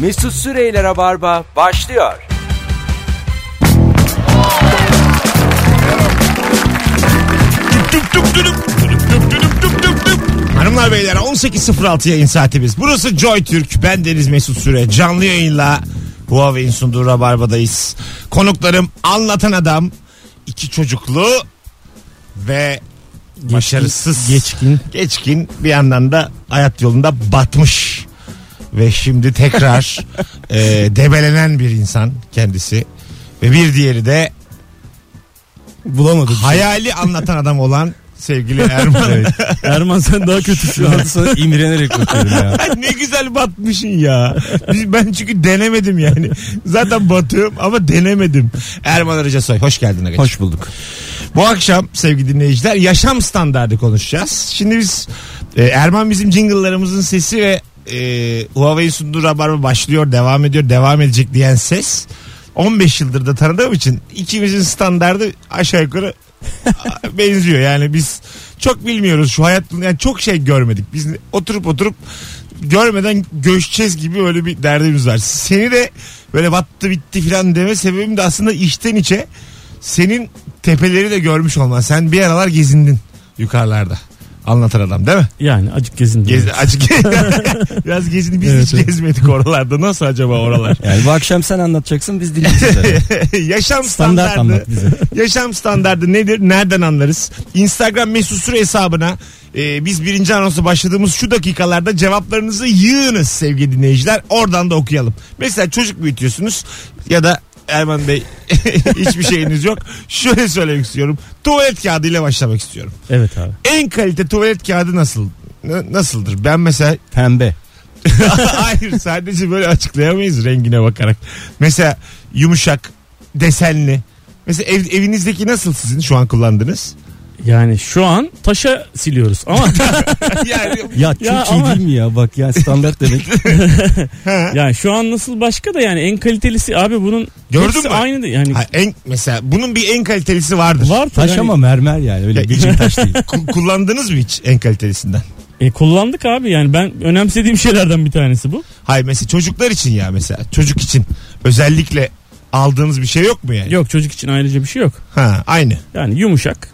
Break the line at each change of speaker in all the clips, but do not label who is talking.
Mesut Süreyle Rabarba başlıyor.
Tüp tüp tüdüm, tüdüm tüp tüdüm tüp tüp tüp. Hanımlar beyler 18.06 yayın saatimiz. Burası Joy Türk. Ben Deniz Mesut Süre. Canlı yayınla Huawei'in sunduğu Rabarba'dayız. Konuklarım anlatan adam, iki çocuklu ve başarısız.
geçkin.
Geçkin bir yandan da hayat yolunda batmış. Ve şimdi tekrar e, debelenen bir insan kendisi. Ve bir diğeri de
Bulamadım.
hayali anlatan adam olan sevgili Erman.
Erman sen daha kötü şu an. Sana imrenerek bakıyorum ya.
ne güzel batmışsın ya. Biz- Ben çünkü denemedim yani. Zaten batıyorum ama denemedim. Erman Arıca Soy hoş geldin. Agacığım.
Hoş bulduk.
Bu akşam sevgili dinleyiciler yaşam standardı konuşacağız. Şimdi biz e, Erman bizim jingle'larımızın sesi ve e, Huawei'in sunduğu rabarba başlıyor, devam ediyor, devam edecek diyen ses. 15 yıldır da tanıdığım için ikimizin standardı aşağı yukarı a- benziyor. Yani biz çok bilmiyoruz şu hayat yani çok şey görmedik. Biz oturup oturup görmeden göçeceğiz gibi öyle bir derdimiz var. Seni de böyle battı bitti filan deme sebebim de aslında içten içe senin tepeleri de görmüş olman. Sen bir aralar gezindin yukarılarda. Anlatan adam değil mi?
Yani acık gezindim.
Gez, açık biraz gezin biz
Evet,
hiç
evet.
gezmedik oralarda. Nasıl acaba oralar?
Yani bu akşam sen anlatacaksın biz dinleyeceğiz.
Yaşam
Standart
standardı.
anlat bize.
Yaşam standardı nedir? Nereden anlarız? Instagram mesut süre hesabına e, biz birinci anonsu başladığımız şu dakikalarda cevaplarınızı yığınız sevgili dinleyiciler. Oradan da okuyalım. Mesela çocuk büyütüyorsunuz ya da Erman Bey hiçbir şeyiniz yok. Şöyle söylemek istiyorum. Tuvalet kağıdıyla başlamak istiyorum.
Evet abi.
En kalite tuvalet kağıdı nasıl? n- Nasıldır? Ben mesela
Pembe.
Hayır sadece böyle açıklayamayız rengine bakarak. Mesela yumuşak, desenli. Mesela ev- evinizdeki nasıl sizin şu an kullandığınız?
Yani şu an taşa siliyoruz ama
yani
Ya çok
Ya
iyi
ama-
değil mi ya? Bak ya standart demek.
yani şu an nasıl başka da yani en kalitelisi abi bunun
Gördün
hepsi
mü?
aynı da yani
ha, en mesela bunun bir en kalitelisi vardır.
var tabii.
Taş ama mermer yani öyle gıcık taş değil.
Ku- kullandınız mı hiç en kalitelisinden?
E, kullandık abi yani ben önemsediğim şeylerden bir tanesi bu.
Hayır mesela çocuklar için ya mesela çocuk için özellikle aldığınız bir şey yok mu yani?
Yok çocuk için ayrıca bir şey yok.
Ha aynı.
Yani yumuşak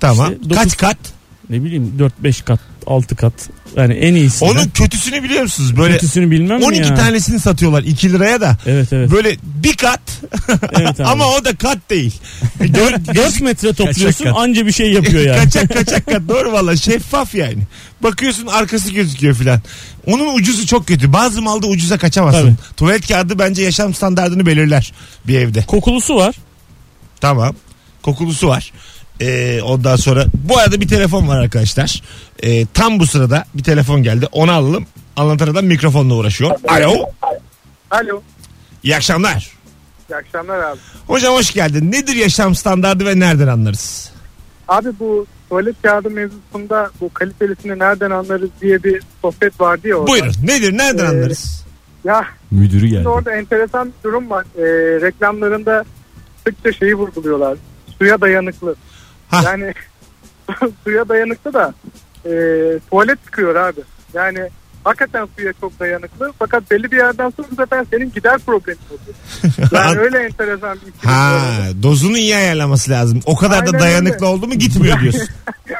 Tamam.
İşte dokuz-
Kaç kat?
ne bileyim 4-5 kat 6 kat yani en iyisi.
Onun kötüsünü biliyor musunuz? Böyle
kötüsünü bilmem mi
12
ya?
tanesini satıyorlar 2 liraya da.
Evet evet.
Böyle bir kat
evet abi.
ama o da kat değil. Gör-
4 metre topluyorsun
kat.
anca bir şey E, yapıyor yani.
kaçak kaçak kat doğru valla şeffaf yani. Bakıyorsun arkası gözüküyor filan. Onun ucuzu çok kötü. Bazı malda ucuza kaçamazsın. Tuvalet kağıdı bence yaşam standartını belirler bir evde.
Kokulusu var.
Tamam. Kokulusu var. Ee, ondan sonra bu arada bir telefon var arkadaşlar. Ee, tam bu sırada bir telefon geldi. Onu alalım. Anlatan adam mikrofonla uğraşıyor. Alo.
Alo.
İyi akşamlar.
İyi akşamlar abi.
Hocam hoş geldin. Nedir yaşam standardı ve nereden anlarız?
Abi bu tuvalet kağıdı mevzusunda bu kalitelisini nereden anlarız diye bir sohbet vardı ya orada.
Buyurun. Nedir? Nereden
Ee,
anlarız?
Ya
Müdürü
şimdi
geldi.
orada enteresan bir durum var. Ee, reklamlarında sıkça şeyi vurguluyorlar. Suya dayanıklı.
Hah.
Yani suya dayanıklı da e, tuvalet çıkıyor abi. Yani hakikaten suya çok dayanıklı fakat belli bir yerden sonra bu sefer senin gider problemin oluyor. Yani öyle enteresan bir ikili
Ha dozunu iyi ayarlaması lazım. O kadar da
Aynen
dayanıklı
öyle.
oldu mu gitmiyor diyorsun.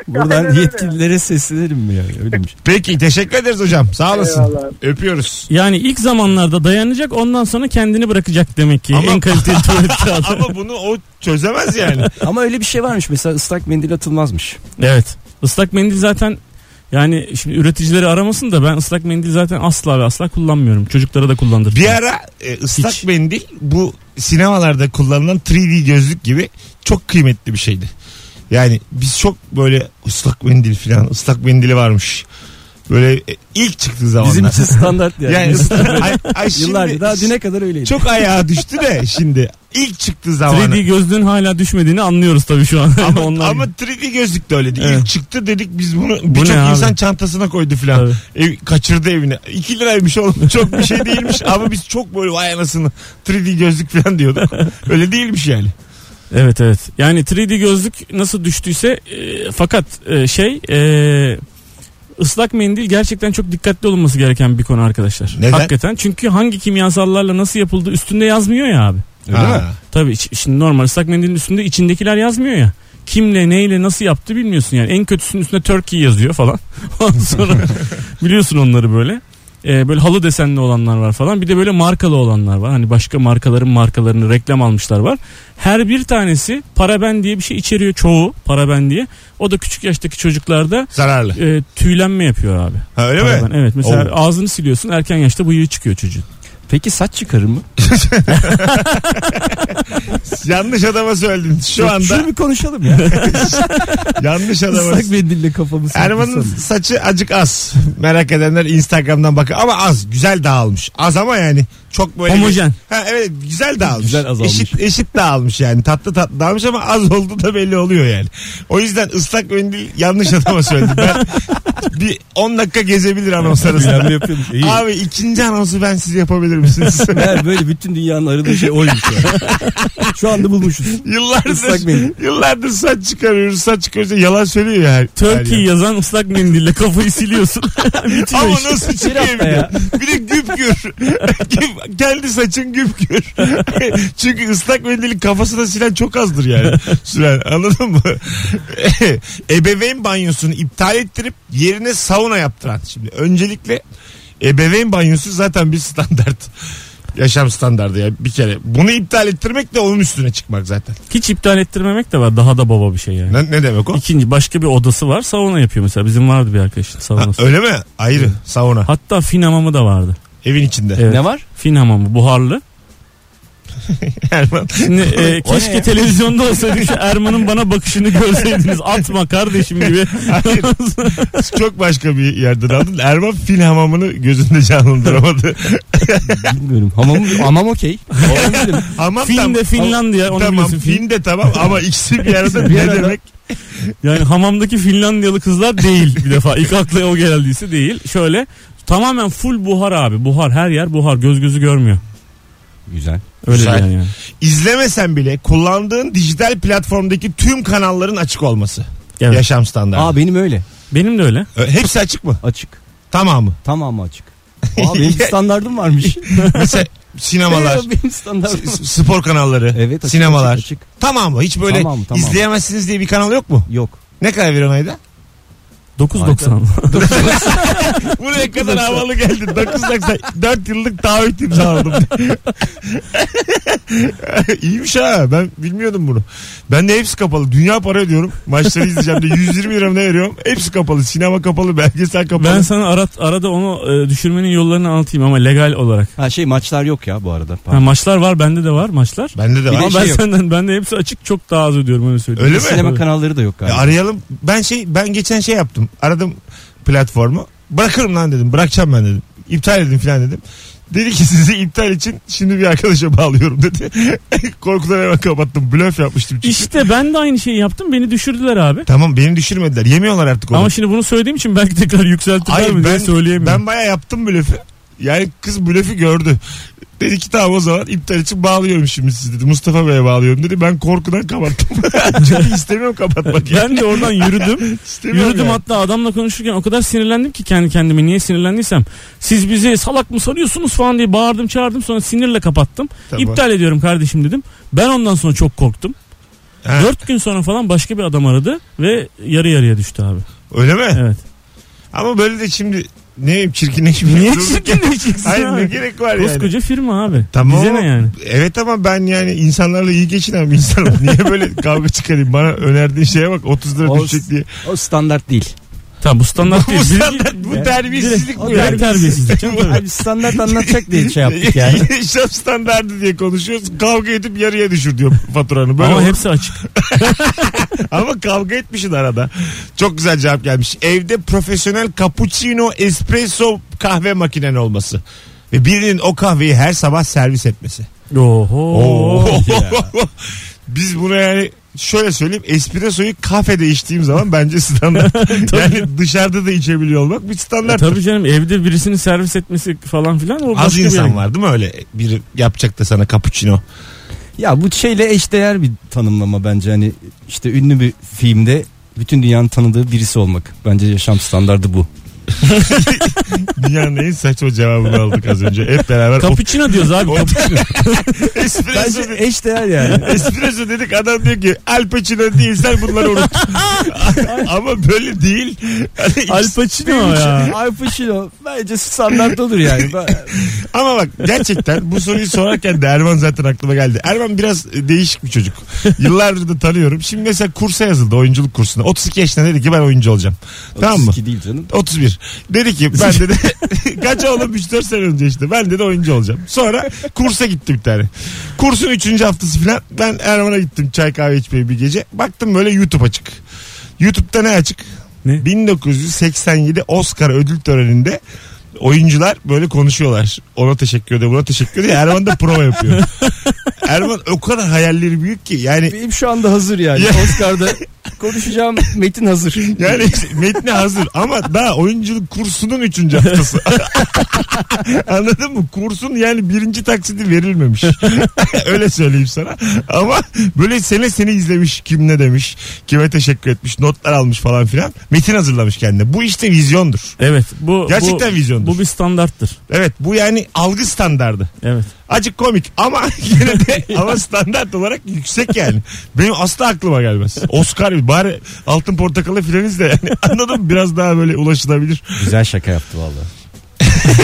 Buradan
Aynen öyle.
yetkililere seslenirim mi yani? Öyle mi?
Peki teşekkür ederiz hocam. Sağ olasın.
Eyvallah.
Öpüyoruz.
Yani ilk zamanlarda dayanacak ondan sonra kendini bırakacak demek ki.
Ama-
En kaliteli tuvalet kağıdı.
Ama bunu o çözemez yani.
Ama öyle bir şey varmış mesela ıslak mendil atılmazmış.
evet. Islak mendil zaten yani şimdi üreticileri aramasın da ben ıslak mendil zaten asla ve asla kullanmıyorum. Çocuklara da kullandırdım.
Bir ara e, ıslak
Hiç.
mendil bu sinemalarda kullanılan 3D gözlük gibi çok kıymetli bir şeydi. Yani biz çok böyle ıslak mendil falan ıslak mendili varmış. Böyle e, ilk çıktığı zamanlar.
Bizim için standart yani.
yani ıslak, ay, ay şimdi
Yıllarca daha düne kadar öyleydi.
çok ayağa düştü de şimdi ilk çıktığı zaman.
3D gözlüğün hala düşmediğini anlıyoruz tabii şu an.
Ama,
Onlar
ama 3D gözlük de öyleydi. İlk
Evet.
çıktı dedik biz bunu
Bu
birçok
ne abi?
insan çantasına koydu filan. Ev, kaçırdı evine. 2 liraymış oğlum çok bir şey değilmiş ama biz çok böyle vay anasını 3D gözlük filan diyorduk. Öyle değilmiş yani.
Evet evet. Yani 3D gözlük nasıl düştüyse e, fakat e, şey e, Islak mendil gerçekten çok dikkatli olması gereken bir konu arkadaşlar.
Neden?
Hakikaten çünkü hangi kimyasallarla nasıl yapıldığı üstünde yazmıyor ya abi.
Öyle
Ha.
mi?
Tabii iç- şimdi normal ıslak mendilin üstünde içindekiler yazmıyor ya. Kimle neyle nasıl yaptı bilmiyorsun yani. En kötüsünün üstüne Turkey yazıyor falan. Ondan sonra biliyorsun onları böyle. Ee, böyle halı desenli olanlar var falan. Bir de böyle markalı olanlar var. Hani başka markaların markalarını reklam almışlar var. Her bir tanesi paraben diye bir şey içeriyor çoğu paraben diye. O da küçük yaştaki çocuklarda
Zararlı.
e, tüylenme yapıyor abi.
Ha, öyle mi?
Paraben. Evet mesela ağzını siliyorsun erken yaşta bıyığı çıkıyor çocuğun.
Peki saç çıkarır mı?
Yanlış adama söyledin. Şu anda
Şunu bir konuşalım ya.
yanlış adama.
Islak mendille kafamı
Erman'ın
sıkmışsam.
saçı acık az. Merak edenler Instagram'dan bakın ama az. Güzel dağılmış. Az ama yani çok böyle.
Homojen.
Ha, evet güzel dağılmış.
Güzel azalmış.
Eşit, eşit dağılmış yani. Tatlı tatlı dağılmış ama az oldu da belli oluyor yani. O yüzden ıslak mendil yanlış adama söyledim. Ben bir 10 dakika gezebilir anons arasında.
Uyanma yapıyormuş. İyi.
Abi ikinci anonsu ben siz yapabilir misiniz?
Meğer böyle bütün dünyanın aradığı şey oymuş yani. Şu anda bulmuşuz. Islak
yıllardır,
mendil.
yıllardır saç çıkarıyoruz. Saç çıkarıyoruz. Yalan söylüyor yani.
Turkey yazan ıslak mendille kafayı siliyorsun. Bitiyor
Ama
iş.
nasıl çıkıyor bir de? Bir de güpgür. Güp- Kendi saçın güpgür. Çünkü ıslak mendilin kafasına silen çok azdır yani. Süren anladın mı? ebeveyn banyosunu iptal ettirip yerine sauna yaptıran. Şimdi öncelikle ebeveyn banyosu zaten bir standart. Yaşam standardı ya bir kere. Bunu iptal ettirmek de onun üstüne çıkmak zaten.
Hiç iptal ettirmemek de var. Daha da baba bir şey yani.
Ne, ne demek o?
İkinci başka bir odası var. Sauna yapıyor mesela. Bizim vardı bir arkadaşın
Ha,
saunası.
öyle mi? Ayrı sauna.
Hatta fin hamamı da vardı.
Evin içinde.
Evet.
Ne var?
Fin hamamı buharlı.
Erman.
Şimdi e,
O ne ya?
keşke televizyonda olsaydı şu Erman'ın bana bakışını görseydiniz. Atma kardeşim gibi.
Hayır. Çok başka bir yerden aldın. Erman fil hamamını gözünde canlandıramadı.
Bilmiyorum. Hamam, hamam okey. Hamam dedim.
Hamam
fin
tam-
de Finlandiya. Onu
tamam
biliyorsun. Fin.
fin de tamam ama ikisi bir arada ne demek?
Yani hamamdaki Finlandiyalı kızlar değil bir defa. İlk akla o geldiyse değil. Şöyle tamamen full buhar abi. Buhar her yer buhar. Göz gözü görmüyor.
Güzel.
Öyle
Güzel.
yani. yani.
İzlemesen bile kullandığın dijital platformdaki tüm kanalların açık olması.
Evet.
Yaşam standartı.
Aa benim öyle.
Benim de öyle.
Ö- Hepsi açık mı?
Açık.
Tamamı.
Tamamı açık. Aa benim standardım varmış.
Mesela sinemalar,
Ya benim standardım.
s- spor kanalları,
Evet açık,
sinemalar.
Açık, açık.
Tamamı. Hiç böyle
Tamam, tamam.
izleyemezsiniz diye bir kanal yok mu?
Yok.
Ne kadar veriyorsun ayda?
9.90.
Buraya kadar havalı geldin. 9.90 4 yıllık taahhüt imzaladım. İyiymiş ha. Ben bilmiyordum bunu. Ben de hepsi kapalı. Dünya para ödüyorum. Maçları izleyeceğim de 120 lira mı ne veriyorum. Hepsi kapalı. Sinema kapalı, belgesel kapalı.
Ben sana arat, arada onu e, düşürmenin yollarını anlatayım ama legal olarak.
Ha şey maçlar yok ya bu arada.
Ha, maçlar var bende de var maçlar.
Bende de
Bir
var.
Ama
de
ben
şey yok.
senden bende hepsi açık çok daha az ödüyorum öyle söyleyeyim.
Öyle mi?
Sinema kanalları da yok
Ya
galiba.
arayalım. Ben şey ben geçen şey yaptım. Aradım platformu. Bırakırım lan dedim. Bırakacağım ben dedim. İptal edin filan dedim. Dedi ki sizi iptal için şimdi bir arkadaşa bağlıyorum dedi. Korkudan hemen kapattım. Blöf yapmıştım çünkü.
İşte ben de aynı şeyi yaptım beni düşürdüler abi.
Tamam beni düşürmediler. Yemiyorlar artık onu.
Ama şimdi bunu söylediğim için belki tekrar yükseltirler
Hayır
mi diye
ben,
söyleyemiyorum.
ben bayağı yaptım blöfü. Yani kız blöfü gördü. Dedi ki tamam o zaman iptal için bağlıyorum şimdi sizi dedi. Mustafa Bey'e bağlıyorum dedi. Ben korkudan kapattım. Çünkü istemiyorum kapatmak.
Ben, de oradan yürüdüm.
İstemiyorum
yürüdüm
yani.
hatta adamla konuşurken o kadar sinirlendim ki kendi kendime niye sinirlendiysem. Siz bizi salak mı sanıyorsunuz falan diye bağırdım çağırdım sonra sinirle kapattım.
Tamam.
İptal ediyorum kardeşim dedim. Ben ondan sonra çok korktum.
Ha,
Dört gün sonra falan başka bir adam aradı ve yarı yarıya düştü abi.
Öyle mi?
Evet.
Ama böyle de şimdi ne bileyim çirkinleşmiyor.
Niye
Durduk
çirkinleşeceksin
Hayır ne
abi?
gerek var yani.
Koskoca firma abi.
Tamam
Bize
ama-
ne yani?
Evet ama ben yani insanlarla iyi geçinen bir insanım. Niye böyle kavga çıkarayım? Bana önerdiğin şeye bak 30 lira
O-
düşecek diye.
O standart değil.
Tamam bu standart değil.
bu
Biri-
standart, bu terbiyesizlik
O
bu yani.
Ben terbiyesizlik. canım tabii.
Abi standart anlatacak diye şey yaptık yani.
Yaşam standardı diye konuşuyoruz. Kavga edip yarıya düşür diyor faturanı. Böyle
Ama
ama,
hepsi açık.
ama kavga etmişsin arada. Çok güzel cevap gelmiş. Evde profesyonel cappuccino espresso kahve makinen olması. Ve birinin o kahveyi her sabah servis etmesi.
Oho.
Biz buna yani şöyle söyleyeyim espressoyu kafede içtiğim zaman bence standart. yani dışarıda da içebiliyor olmak bir standart.
E, Tabii canım evde birisini servis etmesi falan filan o
Az
başka bir
insan var değil mi öyle biri yapacak da sana cappuccino.
Ya bu şeyle eşdeğer bir tanımlama bence hani işte ünlü bir filmde bütün dünyanın tanıdığı birisi olmak. Bence yaşam standardı bu.
Dünyanın en saçma cevabını aldık az önce. Hep beraber
Cappuccino diyoruz abi cappuccino.
o- espresso,
Bence eş değer yani.
espresso dedik adam diyor ki Al Pacino değil sen bunları unut. Ama böyle değil. Hani
Al Pacino
şey.
ya.
Al Pacino bence standart olur yani. Ben-
Ama bak gerçekten bu soruyu sorarken de Erman zaten aklıma geldi. Erman biraz e, değişik bir çocuk. Yıllardır da tanıyorum. Şimdi mesela kursa yazıldı oyunculuk kursuna. 32 yaşında dedi ki ben oyuncu olacağım. Tamam mı?
32 değil canım.
31. Dedi ki ben dedi kaç oğlum 3-4 sene önce işte ben dedi oyuncu olacağım. Sonra kursa gittim bir tane. Kursun 3. haftası falan ben Erman'a gittim çay kahve içmeye bir gece. Baktım böyle YouTube açık. YouTube'da ne açık?
Ne?
1987 Oscar ödül töreninde oyuncular böyle konuşuyorlar. Ona teşekkür ediyor, buna teşekkür ediyor. Erman da prova yapıyor. Erman o kadar hayalleri büyük ki yani
Benim şu anda hazır yani.
Ya.
Oscar'da konuşacağım metin hazır.
Yani metni hazır ama daha oyunculuk kursunun üçüncü haftası. Anladın mı? Kursun yani birinci taksidi verilmemiş. Öyle söyleyeyim sana. Ama böyle sene seni izlemiş. Kim ne demiş. Kime teşekkür etmiş. Notlar almış falan filan. Metin hazırlamış kendine. Bu işte vizyondur.
Evet bu
Gerçekten
bu,
vizyondur.
bu bir standarttır.
Evet bu yani algı standardı.
Evet.
Acık komik ama yine de ama standart olarak yüksek yani. Benim asla aklıma gelmez. Oscar bari altın portakalı filan izle yani. Anladın mı? Biraz daha böyle ulaşılabilir.
Güzel şaka yaptı valla.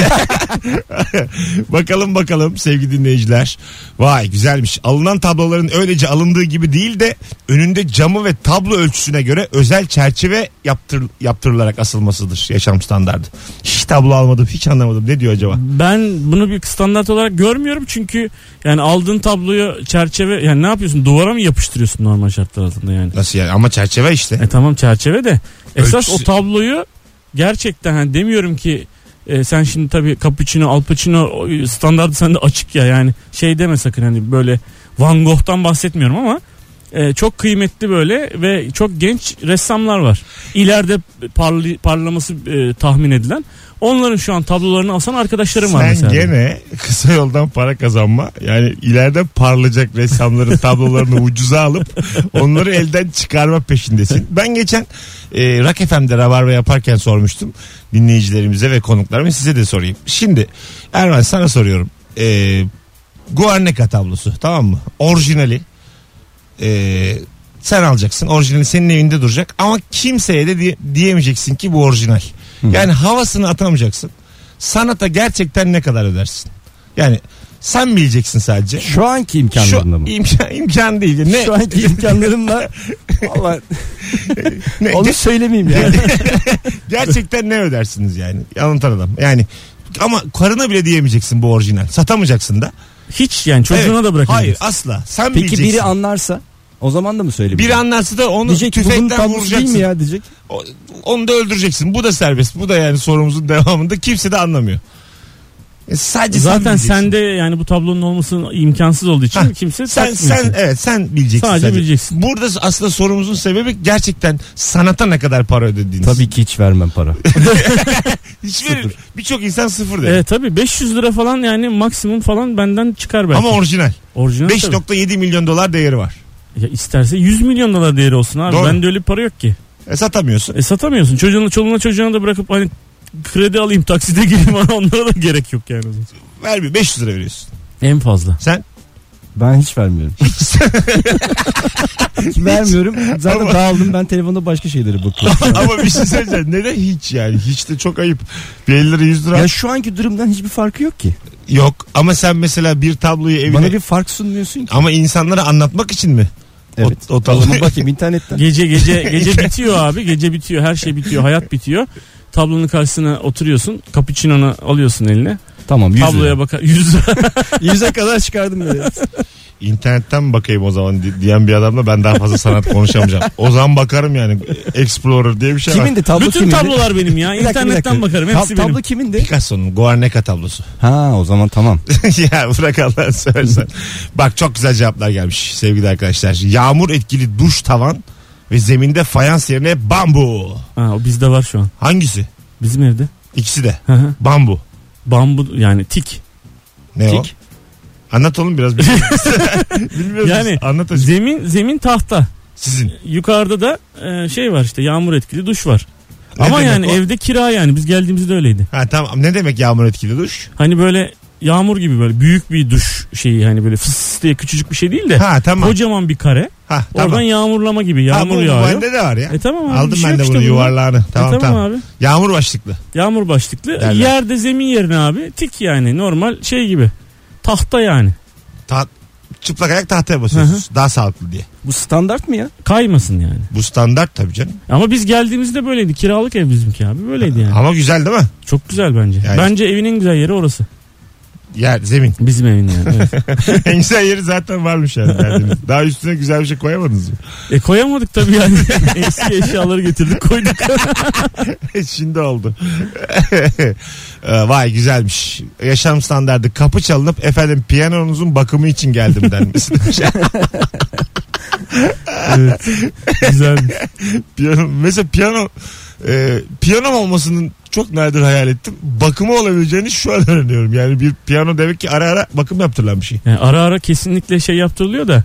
Bakalım bakalım sevgili dinleyiciler. Vay güzelmiş. Alınan tabloların öylece alındığı gibi değil de önünde camı ve tablo ölçüsüne göre özel çerçeve yaptır, yaptırılarak asılmasıdır yaşam standardı. Hiç tablo almadım hiç anlamadım. Ne diyor acaba?
Ben bunu bir standart olarak görmüyorum çünkü yani aldığın tabloyu çerçeve yani ne yapıyorsun duvara mı yapıştırıyorsun normal şartlar altında yani.
Nasıl yani ama çerçeve işte.
E tamam çerçeve de esas
Ölçüsü-
o tabloyu gerçekten hani demiyorum ki e, sen şimdi tabii Cappuccino, Al Pacino o, standartı sende açık ya yani şey deme sakın hani böyle Van Gogh'tan bahsetmiyorum ama e, çok kıymetli böyle ve çok genç ressamlar var. İleride parlı, parlaması e, tahmin edilen onların şu an tablolarını alsan arkadaşlarım var
Sen
mesela.
gene kısa yoldan para kazanma. Yani ileride parlayacak ressamların tablolarını ucuza alıp onları elden çıkarma peşindesin. Ben geçen e, Rock FM'de Rabarba yaparken sormuştum dinleyicilerimize ve konuklarıma size de sorayım. Şimdi Erman sana soruyorum. E, Guarneca tablosu tamam mı? Orijinali. E, sen alacaksın. Orijinali senin evinde duracak. Ama kimseye de diye- diyemeyeceksin ki bu orijinal. Yani havasını atamayacaksın sanata gerçekten ne kadar ödersin? Yani sen bileceksin sadece.
Şu anki
Şu
imkanlarımla mı?
imkan, imkan değil. Ne,
Şu anki imkanlarımla valla
ne-
onu söylemeyeyim yani.
gerçekten ne ödersiniz yani? Anlatan adam. Yani ama karına bile diyemeyeceksin bu orijinal. Satamayacaksın da.
Hiç yani çocuğuna
Evet.
da bırakamayacaksın.
Hayır asla. Sen
Peki
bileceksin.
biri anlarsa o zaman da mı söylemeyeyim?
Biri anlarsa da onu
Diyecek ki bunun
tüfekten
tablosu değil
vuracaksın.
mi ya diyecek.
O- Onu da öldüreceksin. Bu da serbest. Bu da yani sorumuzun devamında kimse de anlamıyor. E sadece sen
Zaten
bileceksin.
sende yani bu tablonun olması imkansız olduğu için
Ha,
kimse
sen
takmıyor.
sen evet sen bileceksin.
Sadece bileceksin.
Burada aslında sorumuzun sebebi gerçekten sanata ne kadar para ödediğiniz.
Tabii ki hiç vermem para.
Hiç verir. Birçok insan sıfır der.
Evet E, tabii 500 lira falan yani maksimum falan benden çıkar belki.
Ama orijinal.
orijinal tabii.
5.7 milyon dolar değeri var.
Ya isterse 100 milyon dolar değeri olsun abi.
Doğru.
Bende öyle bir para yok ki.
E satamıyorsun.
E satamıyorsun. Çocuğuna çoluğuna çocuğuna da bırakıp hani kredi alayım takside gireyim onlara da gerek yok yani.
Vermiyor. 500 lira veriyorsun.
En fazla.
Sen
Ben hiç vermiyorum. vermiyorum. Zaten
Ama-
dağıldım. Ben telefonda başka şeylere bakıyorum.
ama bir şey söyleyeceğim. Neden hiç yani? Hiç de çok ayıp. Bir 50 lira 100 lira.
ya şu anki durumdan hiçbir farkı yok ki.
Yok ama sen mesela bir tabloyu evine...
Bana bir fark sunmuyorsun ki.
Ama insanlara anlatmak için mi?
Evet.
O, o
O
tablo-
zaman bakayım internetten.
Gece gece gece bitiyor abi. Gece bitiyor. Her şey bitiyor. Hayat bitiyor. Tablonun karşısına oturuyorsun. Cappuccino'nu alıyorsun eline.
Tamam 100
Tabloya
lira.
bakar. 100 lira.
100'e kadar çıkardım böyle.
İnternetten mi bakayım o zaman di- diyen bir adamla ben daha fazla sanat konuşamayacağım. O zaman bakarım yani Explorer diye bir şey var.
Kimindi tablo
Bütün
kimindi?
tablolar benim ya.
Bir dakika, bir dakika.
İnternetten bakarım.
Tab-
Hepsi
tablo
benim.
kimindi?
Picasso'nun Guarneca tablosu.
Ha o zaman tamam.
ya bırak Allah'ını seversen. Bak çok güzel cevaplar gelmiş sevgili arkadaşlar. Yağmur etkili duş tavan ve zeminde fayans yerine bambu.
Ha, o bizde var şu an.
Hangisi?
Bizim evde.
İkisi de.
Hı hı.
Bambu.
Bambu yani tik.
Ne o?
Tik.
Anlat oğlum biraz. Bilmiyoruz.
Yani-
yani, Anlat hocam.
Zemin zemin tahta.
Sizin.
Yukarıda da e, şey var işte yağmur etkili duş var.
Ne
Ama
demek
yani
o?
evde kira yani biz geldiğimizde öyleydi.
Ha tamam ne demek yağmur etkili duş?
Hani böyle yağmur gibi böyle büyük bir duş şeyi hani böyle fıs diye küçücük bir şey değil de
Ha tamam.
kocaman bir kare.
ha tamam.
Oradan yağmurlama gibi
Ha,
yağmur
bu- bu
yağıyor.
Bende de var ya.
E tamam abi,
Aldım
bir şey
ben
yok
de
işte
bunu
bunun.
yuvarlağını.
E
Tamam tamam.
abi.
Yağmur başlıklı.
Yağmur başlıklı.
Derler.
Yerde zemin yerine abi tik yani normal şey gibi. Tahta yani.
Ta- çıplak ayak tahtaya basıyorsunuz. Daha sağlıklı diye.
Bu standart mı ya?
Kaymasın yani.
Bu standart tabii canım.
Ama biz geldiğimizde böyleydi. Kiralık ev bizimki abi. Böyleydi yani.
Ama güzel değil mi?
Çok güzel bence.
Yani-
Bence evin en güzel yeri orası.
Yer, zemin.
Bizim evin yani. evet.
en güzel yeri zaten varmış yani. derdiniz. Daha üstüne güzel bir şey koyamadınız mı?
e koyamadık tabii yani. Eski eşyaları getirdik koyduk.
Şimdi oldu. Ee, Vay güzelmiş. Yaşam standardı kapı çalınıp efendim piyanonuzun bakımı için geldim denmesi. demiş.
evet. Güzel.
piyano, mesela piyano e, piyanom olmasının çok nadir hayal ettim. Bakımı olabileceğini şu an öğreniyorum. Yani bir piyano demek ki ara ara bakım yaptırılan bir şey.
Yani ara ara kesinlikle şey yaptırılıyor da.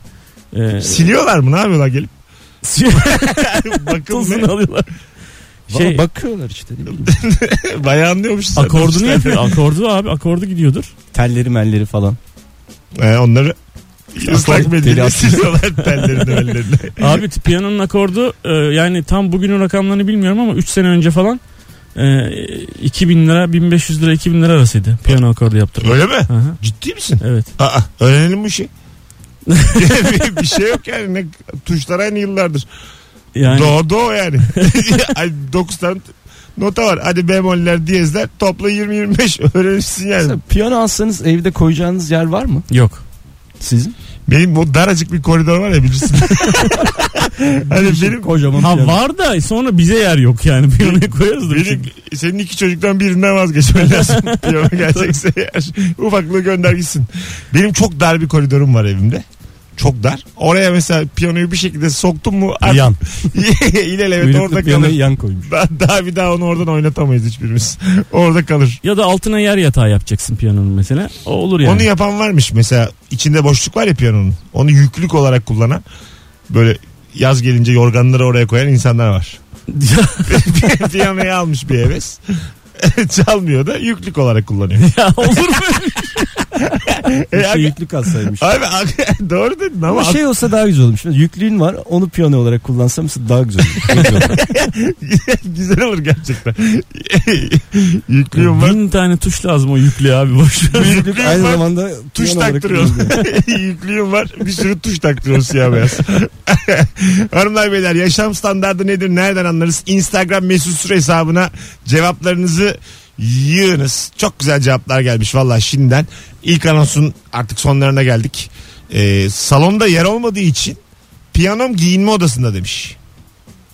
E,
Siliyorlar mı? Ne yapıyorlar gelip? bakım
tozunu
ne?
alıyorlar. Şey,
Şey, bakıyorlar işte. ne bileyim.
Bayağı anlıyormuşsun. sen.
akordunu yapıyor. Akordu abi akordu gidiyordur.
Telleri melleri falan.
Ee, onları ıslak
Akor- teli
mendille
atıyor.
siliyorlar tellerini ellerine.
Abi t- piyanonun akordu e, yani tam bugünün rakamlarını bilmiyorum ama 3 sene önce falan e, 2000 lira 1500 lira 2000 lira arasıydı piyano akordu yaptırmak.
Öyle mi?
Aha,
Ciddi misin?
evet.
Aa, öğrenelim bu işi. bir, bir şey yok yani. Ne, tuşlar aynı yıllardır.
Yani
Do do yani. Ay 9 tane nota var. Hadi bemoller, diyezler. Topla 20-25 öğrenirsin yani.
Mesela piyano alsanız evde koyacağınız yer var mı
yok.
sizin?
Benim bu daracık bir koridor var ya bilirsin. hani benim
Kocaman
Ha
piyano.
var da sonra bize yer yok yani piyanoya koyarız da. bir şey.
Benim, senin iki çocuktan birinden vazgeçmen lazım. Piyano gelecekse eğer. Ufaklığı gönder gitsin. Benim çok dar bir koridorum var evimde. Çok dar. Oraya mesela piyanoyu bir şekilde soktum mu artık
Yan.
ilelebet
Uyruklu
orada
piyanoyu
kalır.
yan koymuş.
Daha, daha bir daha onu oradan oynatamayız hiçbirimiz. Orada kalır.
Ya da altına yer yatağı yapacaksın piyanonun mesela. O olur yani.
Onu yapan varmış mesela içinde boşluk var ya piyanonun. Onu yüklük olarak kullanan böyle yaz gelince yorganları oraya koyan insanlar var. Piyanoyu almış bir heves. Çalmıyor da yüklük olarak kullanıyor.
ya olur mu?
E,
Şey
abi-
yüklü kalsaymış.
Abi ak- doğru dedin ama
Ama
ak-
şey olsa daha güzel olmuş. Mesela yüklüğün var onu piyano olarak kullansam mesela daha güzel olur. Çok güzel olur.
güzel olur gerçekten. Yüklüyüm var.
Bin tane tuş lazım o yüklü abi boş ver.
Yüklük aynı
var,
zamanda
Tuş
piyano olarak
taktırıyorsun.
kullanılıyor.
Yüklüyüm var. Bir sürü tuş taktırıyorsun siyah beyaz. Hanımlar beyler yaşam standardı nedir? Nereden anlarız? Instagram mesut süre hesabına cevaplarınızı yığınız. Çok güzel cevaplar gelmiş valla şimdiden. İlk anonsun artık sonlarına geldik. Ee, salonda yer olmadığı için piyanom giyinme odasında demiş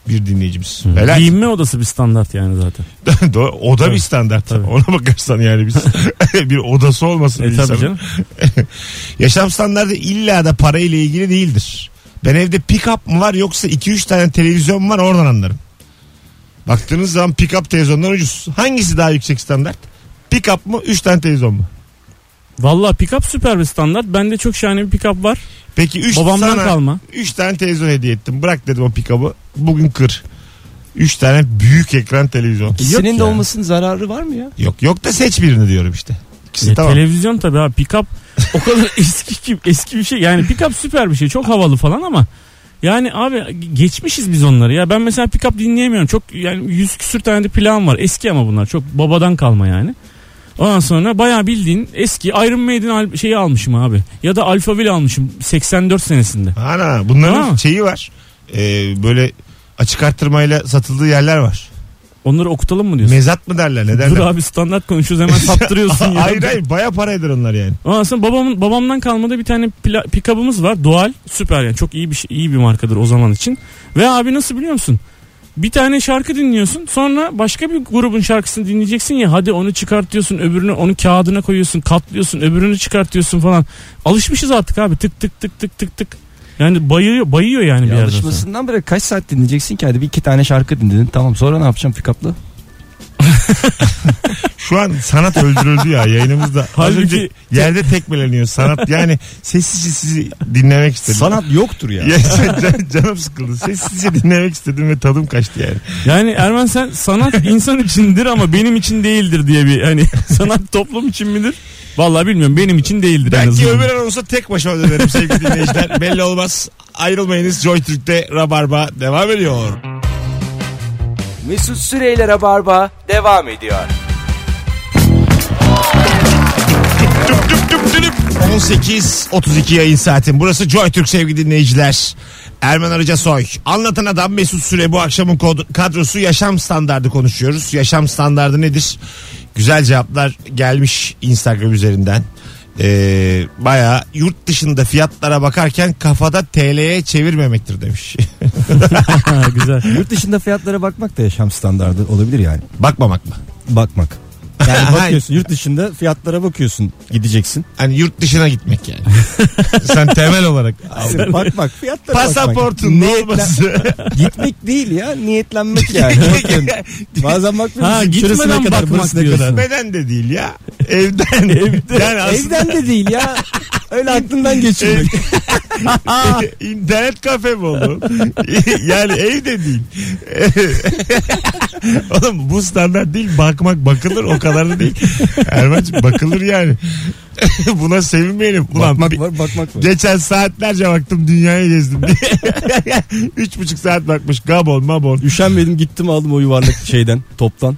bir dinleyicimiz. Helal.
Giyinme odası bir standart yani zaten.
Doğru. Oda bir
Tabii.
standart.
Tabii.
Ona bakarsan yani biz bir odası olmasın
E
bir
tabii
insanın.
canım.
Yaşam standartı illa da parayla ilgili değildir. Ben evde pick-up mı var yoksa 2-3 tane televizyon mu var oradan anlarım. Baktığınız zaman pick-up televizyondan ucuz. Hangisi daha yüksek standart? Pick-up mı 3 tane televizyon mu?
Valla pick-up süper bir standart. Bende çok şahane bir pick-up var.
Peki 3
Babamdan
sana
kalma.
3 tane televizyon hediye ettim. Bırak dedim o pick-up'ı. Bugün kır. 3 tane büyük ekran televizyon.
İkisinin de
Yok yani.
olmasının zararı var mı ya?
Yok yok da seç birini diyorum işte. İkisi
Ya
tamam.
Televizyon tabii abi pick-up o kadar eski ki eski bir şey. Yani pick-up süper bir şey. Çok havalı falan ama yani abi geçmişiz biz onları ya. Ben mesela pick-up dinleyemiyorum. Çok yani yüz küsür tane de plan var. Eski ama bunlar. Çok babadan kalma yani. Ondan sonra bayağı bildiğin eski Iron Maiden al- şeyi almışım abi. Ya da Alphaville almışım 84 senesinde.
Ana bunların
Ha.
şeyi var. Ee, böyle açık arttırmayla satıldığı yerler var.
Onları okutalım mı diyorsun?
Mezat mı derler ne
Dur
derler?
abi standart konuşuyoruz hemen saptırıyorsun ya.
hayır hayır baya para eder onlar yani.
Ondan sonra babamın, babamdan kalmada bir tane pla- pick-up'ımız var. Doğal süper yani çok iyi bir şey- iyi bir markadır o zaman için. Ve abi nasıl biliyor musun? Bir tane şarkı dinliyorsun sonra başka bir grubun şarkısını dinleyeceksin ya hadi onu çıkartıyorsun öbürünü onu kağıdına koyuyorsun katlıyorsun öbürünü çıkartıyorsun falan. Alışmışız artık abi tık tık tık tık tık tık. Yani bayıyor, bayıyor yani bir
Ya
yerden sonra.
alışmasından beri kaç saat dinleyeceksin ki? Hadi bir iki tane şarkı dinledin. Tamam sonra ne yapacağım pick up'la?
Şu an sanat öldürüldü ya yayınımızda. Az
Halbuki-
önce yerde tekmeleniyor sanat. Yani sessizce sizi dinlemek istedim.
Sanat yoktur ya.
Ya can- can- canım sıkıldı. Sessizce dinlemek istedim ve tadım kaçtı yani.
Yani Erman sen sanat insan içindir ama benim için değildir diye bir hani sanat toplum için midir? Vallahi bilmiyorum benim için değildir en
Belki
azından.
öbür an olsa tek başıma dönerim sevgili dinleyiciler. Belli olmaz. Ayrılmayınız. Joy Türk'te Rabarba devam ediyor.
Mesut Süreyler'e barba devam ediyor.
18.32 yayın saatin. Burası Joy Türk sevgili dinleyiciler. Erman Arıca Soy. Anlatan adam Mesut Süre bu akşamın kod- kadrosu yaşam standardı konuşuyoruz. Yaşam standardı nedir? Güzel cevaplar gelmiş Instagram üzerinden. Ee, Baya yurt dışında fiyatlara bakarken kafada TL'ye çevirmemektir demiş.
Ha, güzel.
Yurt dışında fiyatlara bakmak da yaşam standardı olabilir yani.
Bakmamak mı?
Bakmak. Yani bakıyorsun yurt dışında fiyatlara bakıyorsun gideceksin.
Hani yurt dışına gitmek yani. Sen temel olarak.
bakmak fiyatlara
Pasaportun
bakmak.
olması.
Gitmek değil ya niyetlenmek yani. Bakın, Bazen bakmıyorsun.
Ha, gitmeden
şurasına
bakmak
burasına
diyorsun.
Beden de değil ya. Evden. Evden. Yani aslında
Evden de değil ya. Öyle aklından geçirmek.
internet kafe mi oğlum? yani evde değil. oğlum bu standart değil. Bakmak bakılır o kadar da değil. Erman'cığım bakılır yani. Buna sevinmeyelim. Ulan
bakmak
bir-
var bakmak var.
Geçen saatlerce baktım dünyayı gezdim diye. Üç buçuk saat bakmış. Gabon mabon.
Üşenmedim gittim aldım o yuvarlak şeyden toptan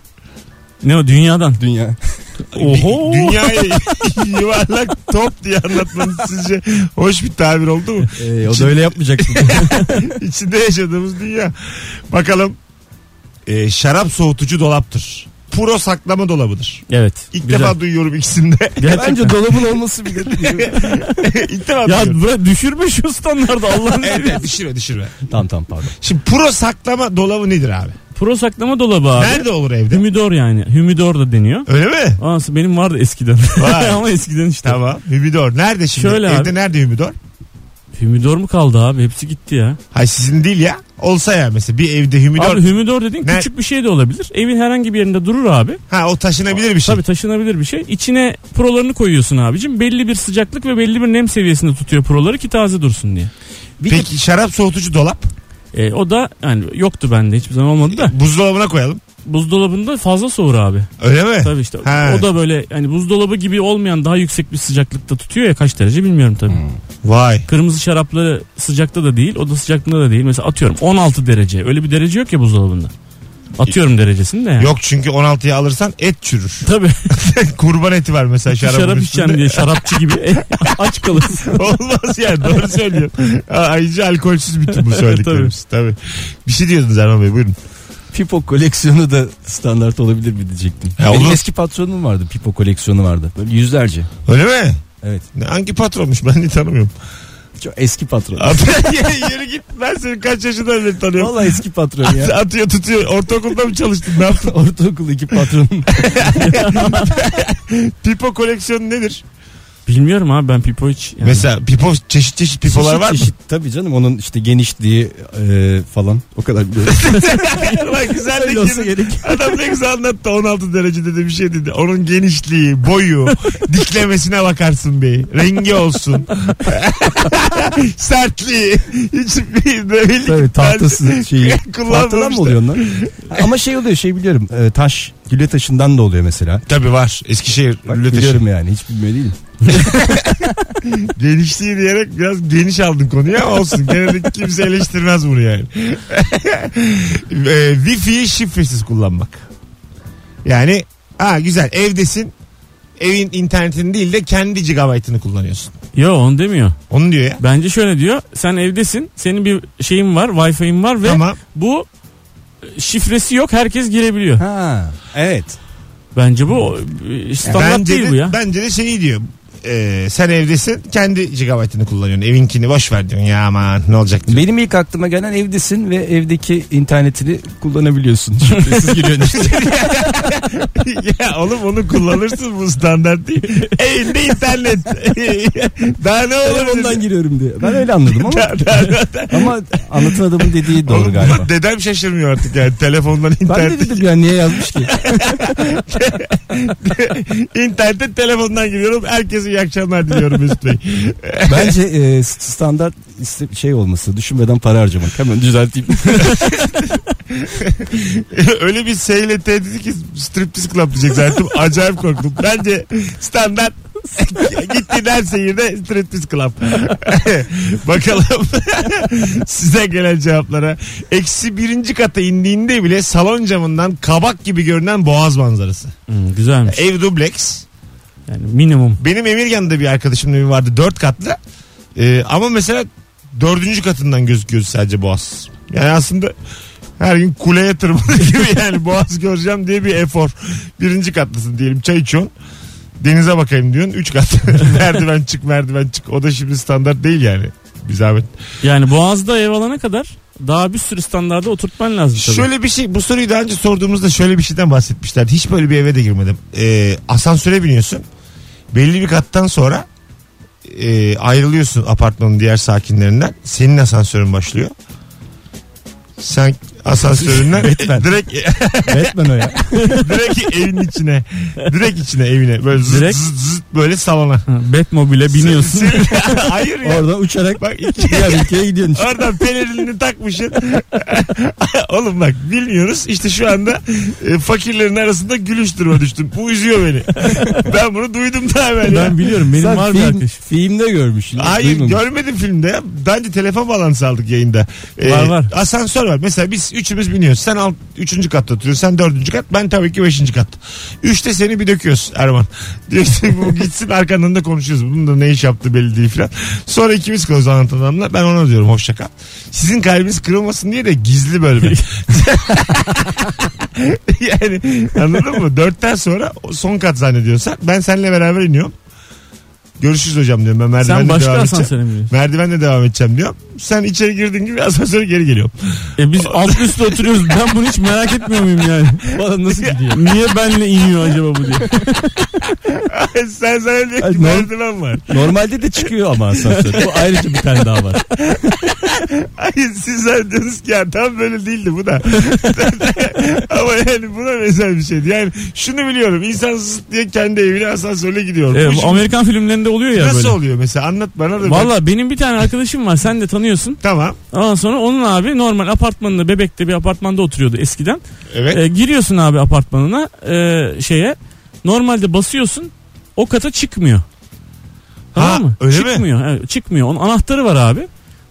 Ne o dünyadan?
dünya.
Oho.
Dünyayı yuvarlak top diye anlatmanız sizce hoş bir tabir oldu mu?
Ee, o da öyle yapmayacaktı.
İçinde yaşadığımız dünya. Bakalım. Ee, şarap soğutucu dolaptır. Puro saklama dolabıdır.
Evet.
İlk
güzel.
defa duyuyorum ikisini de.
Gerçekten.
Bence dolabın olması bile.
İlk defa
ya
duyuyorum.
bırak düşürme şu standartı Allah'ın
Evet düşürme düşürme.
tamam tamam pardon.
Şimdi puro saklama dolabı nedir abi?
Pro saklama dolabı abi.
Nerede olur evde?
Hümidor yani. Hümidor da deniyor.
Öyle mi?
Aa, benim vardı eskiden.
Vay.
Ama eskiden işte.
Tamam. Hümidor. Nerede şimdi?
Şöyle
evde
abi.
nerede hümidor?
Hümidor mu kaldı abi? Hepsi gitti ya.
Hayır sizin değil ya. Olsa ya mesela bir evde hümidor.
Abi hümidor dediğin
Ne?
küçük bir şey de olabilir. Evin herhangi bir yerinde durur abi.
ha o taşınabilir bir şey.
Tabii taşınabilir bir şey. İçine prolarını koyuyorsun abicim. Belli bir sıcaklık ve belli bir nem seviyesinde tutuyor proları ki taze dursun diye.
Peki şarap soğutucu dolap
E, o da yani yoktu bende hiçbir zaman olmadı
Şey-
da.
buzdolabına koyalım.
Buzdolabında fazla soğur abi.
Öyle mi?
Tabii işte.
Ha.
O da böyle hani buzdolabı gibi olmayan daha yüksek bir sıcaklıkta tutuyor ya kaç derece bilmiyorum tabii.
Hmm. Vay.
Kırmızı şarapları sıcakta da değil, oda sıcaklığında da değil. Mesela atıyorum 16 derece. Öyle bir derece yok ya buzdolabında. Atıyorum derecesini de yani.
Yok çünkü 16'ya alırsan et çürür.
Tabii.
Kurban eti var mesela şarabın
Şarap
üstünde.
içeceğim diye şarapçı gibi aç kalırsın.
Olmaz yani doğru söylüyorsun. Aa, Ayrıca alkolsüz bütün bu söylediklerimiz. Tabii. Bir şey diyordunuz Erman Bey buyurun.
Pipo koleksiyonu da standart olabilir mi diyecektim.
Ya
Benim
olur.
eski patronum vardı. Pipo koleksiyonu vardı. Böyle yüzlerce.
Öyle mi?
Evet.
Ne- Hangi patronmuş ben de tanımıyorum.
Çok eski patron.
At yürü, yürü git ben seni kaç yaşından beri tanıyorum.
Vallahi eski patron
At-
ya.
atıyor tutuyor. Ortaokulda mı çalıştın ne yaptın?
Ortaokul iki patronum.
Pipo koleksiyonu nedir?
Bilmiyorum abi ben pipo hiç. yani.
Mesela pipo çeşit çeşit pipolar
Çeşit
var mı?
çeşit. Tabii canım onun işte genişliği e, falan. O kadar biliyorum.
Bak güzel de
Öyle olsa
girdi.
gerek.
Adam ne güzel anlattı 16 derecede de bir şey dedi. Onun genişliği, boyu, diklemesine bakarsın bey. Rengi olsun. Sertliği. Hiç bir de belli
Tabii
ki
tahtası şeyi.
tersi
Tahtadan
Kullanmamışlar.
mı oluyor onlar? Ama şey oluyor şey biliyorum. E, taş gülle taşından da oluyor mesela.
Tabii var. Eskişehir
Bak,
Lületeşi.
biliyorum yani hiç bilmiyor değilim.
Genişliği diyerek biraz geniş aldın konuyu ama olsun. Gene de kimse eleştirmez bunu yani. e, Wi-Fi'yi şifresiz kullanmak. Yani ha güzel evdesin. Evin internetini değil de kendi gigabaytını kullanıyorsun.
Yo onu demiyor.
Onu diyor ya.
Bence şöyle diyor. Sen evdesin. Senin bir şeyin var. Wi-Fi'in var ve
Tamam.
bu e, şifresi yok. Herkes girebiliyor.
Ha evet.
Bence bu e, standart
bence
değil
de,
bu ya.
Bence de şey diyor. e, sen evdesin kendi gigabaytını kullanıyorsun. Evinkini boş ver diyorsun ya aman ne olacak diyor.
Benim ilk aklıma gelen evdesin ve evdeki internetini kullanabiliyorsun. Şifresiz giriyorsun işte.
ya oğlum onu kullanırsın bu standart değil. Evinde internet. Daha ne olur
Telefondan giriyorum diye. Ben öyle anladım ama ama anlatan adamın dediği doğru
Oğlum,
galiba.
dedem şaşırmıyor artık yani telefondan
Ben de
internet.
dedim ya niye yazmış ki?
İnternette telefondan giriyorum. Herkese iyi akşamlar diliyorum Mesut Bey.
Bence e, st- standart iste- şey olması düşünmeden para harcamak. Hemen düzelteyim.
Öyle bir seyle tehdit ki striptiz club diyecek zaten. Acayip korktum. Bence standart gittiğin her seyirde striptiz club. Bakalım size gelen cevaplara. Eksi birinci kata indiğinde bile salon camından kabak gibi görünen boğaz manzarası.
Hmm, güzelmiş.
Ev dubleks.
Yani minimum.
Benim Emirgan'da bir arkadaşımın evi vardı. Dört katlı. Ee, ama mesela dördüncü katından gözüküyor sadece boğaz. Yani aslında her gün kuleye tırmanır gibi yani boğaz göreceğim diye bir efor. Birinci katlısın diyelim çay içiyorsun. Denize bakayım diyorsun. Üç kat. merdiven çık merdiven çık. O da şimdi standart değil yani. Bir zahmet.
Yani Boğaz'da ev alana kadar daha bir sürü standarda oturtman lazım tabii.
Şöyle bir şey bu soruyu daha önce sorduğumuzda şöyle bir şeyden bahsetmişlerdi. Hiç böyle bir eve de girmedim. Ee, asansöre biniyorsun. Belli bir kattan sonra e, ayrılıyorsun apartmanın diğer sakinlerinden. Senin asansörün başlıyor. Sen asansöründen direkt
Batman o ya.
direkt evin içine. Direkt içine evine. Böyle zıt
Direkt?
zıt zıt böyle salona.
Ha, Batmobile'e biniyorsun.
Sen- sen- hayır ya.
Oradan uçarak
Bak iki,
diğer ülkeye gidiyorsun. işte.
Oradan pelerinini takmışsın. Oğlum bak bilmiyoruz. İşte şu anda e, fakirlerin arasında gülüş duruma düştüm. Bu üzüyor beni. ben bunu duydum daha evvel. ya.
ben biliyorum benim
Sen
var bir
film-
arkadaşım.
Filmde görmüş.
Hayır
duymamış.
görmedim filmde ya. Daha önce telefon bağlantısı aldık yayında. Ee,
Var, var.
Asansör var. Mesela biz üçümüz biniyoruz. Sen alt, üçüncü katta oturuyorsun. Sen dördüncü kat. Ben tabii ki beşinci kat. Üçte seni bir döküyoruz Erman. Diyorsun bu gitsin arkandan da konuşuyoruz. Bunun da ne iş yaptı belli değil filan. Sonra ikimiz kalıyoruz anlatan adamla. Ben ona diyorum hoşça kal. Sizin kalbiniz kırılmasın diye de gizli bölme. yani anladın mı? Dörtten sonra o son kat zannediyorsan ben seninle beraber iniyorum. Görüşürüz hocam diyorum ben merdivenle
Sen başka
devam edeceğim.
asansöre mi biniyorsun?
Merdivenle devam edeceğim diyorum. Sen içeri girdin gibi asansöre geri geliyorum.
E biz alt üstte oturuyoruz. Ben bunu hiç merak etmiyor muyum yani? Bana nasıl gidiyor? Niye benle iniyor acaba bu diye.
sen sana diyor
Ay,
ki
ne oldu?
merdiven var.
Normalde de çıkıyor ama asansör. Bu ayrıca bir tane daha var.
Hayır siz zannediyorsunuz ki ya tam böyle değildi bu da. Ama yani buna benzer bir şeydi. Yani şunu biliyorum insan zıt diye kendi evine asansörle gidiyor.
E,
Bu şimdi
Amerikan filmlerinde oluyor ya
nasıl
böyle.
oluyor mesela anlat bana da. Vallahi...
Valla benim bir tane arkadaşım var sen de tanıyorsun.
Tamam
Ondan sonra onun abi normal apartmanında bebekte bir apartmanda oturuyordu eskiden.
evet.
E, giriyorsun abi apartmanına e, şeye normalde basıyorsun o kata çıkmıyor.
Ha,
Tamam mı?
öyle mi?
çıkmıyor. evet, çıkmıyor. Onun anahtarı var abi.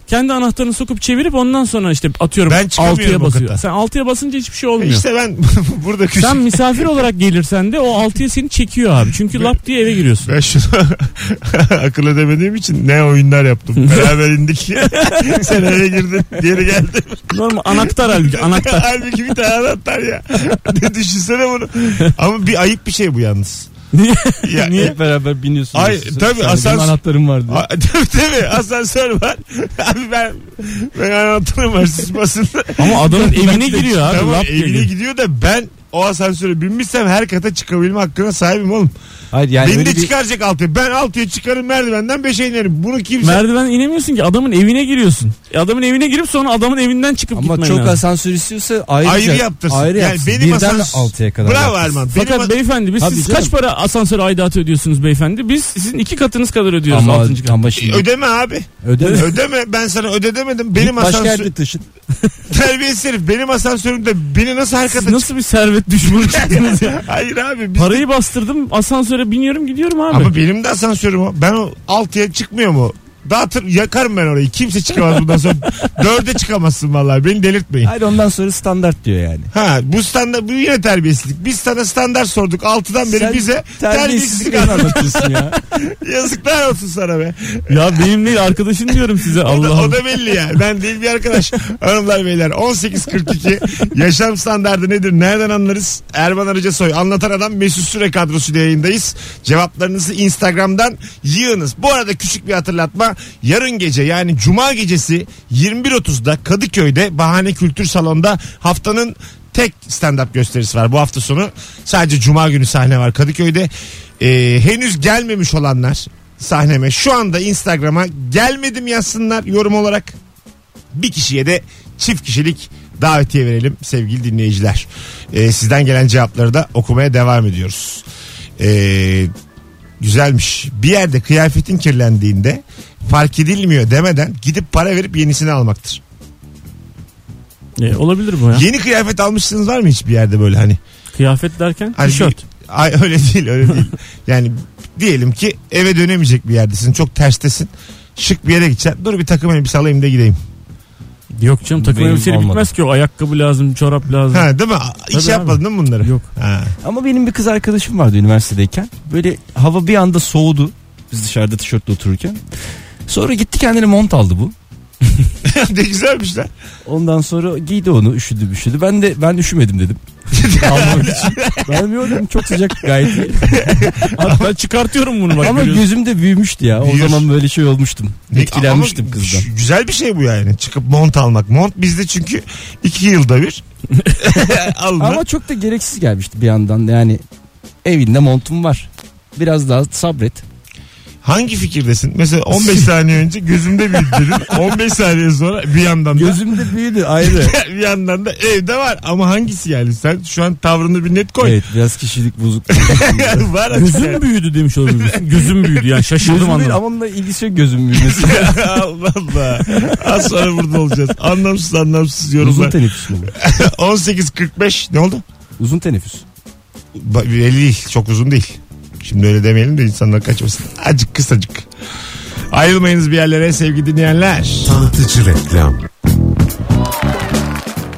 Kendi anahtarını sokup çevirip ondan sonra işte atıyorum
Ben çıkamıyorum
6'ya
o kata.
basıyor. Sen 6'ya basınca hiçbir şey olmuyor.
İşte ben burada küçük.
Sen misafir olarak gelirsen de o 6'ya seni çekiyor abi. Çünkü lap diye eve giriyorsun.
Ben şunu akıl edemediğim için ne oyunlar yaptım. Beraber indik. Sen eve girdin. Geri geldin.
Normal anahtar halbuki anahtar.
Halbuki bir tane anahtar ya. Ne Düşünsene bunu. Ama bir ayıp bir şey bu yalnız. Ya,
Hep beraber biniyorsunuz.
Ay,
Sen-
tabii,
sen-
asans-
Benim anahtarım var diye.
A, tabii tabii asansör var. Abi ben ben anahtarım var siz basın.
Ama adamın evine
Ben de-
giriyor abi.
Tamam,
lap diye
evine
giriyor.
gidiyor da ben o asansöre binmişsem her kata çıkabilme hakkına sahibim oğlum.
Hayır yani
Beni
öyle
de
bir-
çıkaracak altıya. Ben altıya çıkarım merdivenden beşe inerim. Bunu kimse...
Merdiven inemiyorsun ki adamın evine giriyorsun. E Adamın evine girip sonra adamın evinden çıkıp
Ama
gitmen
çok
lazım.
asansör istiyorsa ayrıca,
Ayrı yaptırsın.
Ayrı
Yani
yapsın.
benim
Birden
asans-
altıya kadar
Bravo
yaptırsın.
Erman. Benim
Fakat beyefendi biz
Tabii
siz
canım.
kaç para asansör aidatı ödüyorsunuz beyefendi? Biz sizin iki katınız kadar ödüyoruz
Ama,
altıncı kat.
ama şimdi
Ödeme abi.
ödeme.
Ödeme. Ben sana ödedemedim. Benim
Benim Başka
asansör...
yerde taşın.
Terbiyesiz herif. Benim asansörümde beni nasıl her
Siz
kata
nasıl bir servet düşmanı çıktınız ya?
Hayır abi. Biz...
Parayı bastırdım asansöre biniyorum gidiyorum abi.
Ama benim de asansörüm o. Ben o altıya çıkmıyor mu? Dağıtır, yakarım ben orayı. Kimse çıkamaz bundan sonra. Dörde çıkamazsın vallahi. Beni delirtmeyin.
Hayır ondan sonra standart diyor yani.
Ha bu standart bu yine terbiyesizlik. Biz sana standart sorduk. Altıdan beri
Sen
bize terbiyesizlik
terbiyesizlik anlatıyorsun ya.
anlat- Yazıklar olsun sana be.
Ya benim değil arkadaşın diyorum size
O da,
Allah
o
Allah.
da belli ya. Ben değil bir arkadaş. Hanımlar beyler 18.42 yaşam standardı nedir? Nereden anlarız? Erman Arıca Soy anlatan adam Mesut Süre kadrosuyla yayındayız. Cevaplarınızı Instagram'dan yığınız. Bu arada küçük bir hatırlatma. Yarın gece yani cuma gecesi 21.30'da Kadıköy'de Bahane Kültür Salonu'nda haftanın tek stand-up gösterisi var bu hafta sonu. Sadece cuma günü sahne var Kadıköy'de. Ee, henüz gelmemiş olanlar sahneme şu anda Instagram'a gelmedim yazsınlar yorum olarak. Bir kişiye de çift kişilik davetiye verelim sevgili dinleyiciler. Ee, sizden gelen cevapları da okumaya devam ediyoruz. Ee, güzelmiş. Bir yerde kıyafetin kirlendiğinde fark edilmiyor demeden gidip para verip yenisini almaktır.
E, olabilir bu ya.
Yeni kıyafet almışsınız var mı hiç bir yerde böyle hani?
Kıyafet derken
Hani
tişört.
bir- Ay öyle değil öyle değil. Yani diyelim ki eve dönemeyecek bir yerdesin. Çok terstesin. Şık bir yere gideceksin. Dur bir takım elbise alayım da gideyim.
Yok canım takım
Benim
elbiseyle
olmadı.
bitmez ki o. Ayakkabı lazım, çorap lazım.
Ha değil mi? Hiç
Tabii
yapmadın değil mi bunları?
Yok.
Ha.
Ama benim bir kız arkadaşım vardı üniversitedeyken. Böyle hava bir anda soğudu. Biz dışarıda tişörtle otururken. Sonra gitti kendine mont aldı bu.
ne güzelmiş lan.
Ondan sonra giydi onu üşüdü üşüdü. Ben de ben üşümedim dedim. Almak için. Ben bilmiyorum çok sıcak gayet iyi.
Hatta çıkartıyorum bunu bak.
Ama
görüyorsun.
gözümde büyümüştü ya. O
Büyür.
zaman böyle şey olmuştum.
Ne-
Etkilenmiştim
ama
kızdan.
gü- Güzel bir şey bu yani. Çıkıp mont almak. Mont bizde çünkü iki yılda bir alınır.
Ama çok da gereksiz gelmişti bir yandan. Yani evinde montum var. Biraz daha sabret.
Hangi fikirdesin? Mesela 15 saniye önce gözümde büyüdü dedin. 15 saniye sonra bir yandan da
Gözümde büyüdü ayrı.
bir yandan da evde var. Ama hangisi yani? Sen şu an tavrını bir net koy.
evet biraz kişilik bozukluğu.
var açık yani.
Gözüm büyüdü demiş olabilirsin. Gözüm büyüdü yani şaşırdım
Gözüm değil
anladım.
ama onunla ilgisi yok gözüm büyümesi.
Allah Allah. Az sonra burada olacağız. Anlamsız anlamsız
Uzun
yorumlar.
teneffüs mü? bu?
18.45 ne oldu?
Uzun teneffüs.
Ba- Belli değil. Çok uzun değil. Şimdi öyle demeyelim de insanlar kaçmasın. Acık kısacık. Ayrılmayınız bir yerlere sevgili dinleyenler.
Tanıtıcı reklam.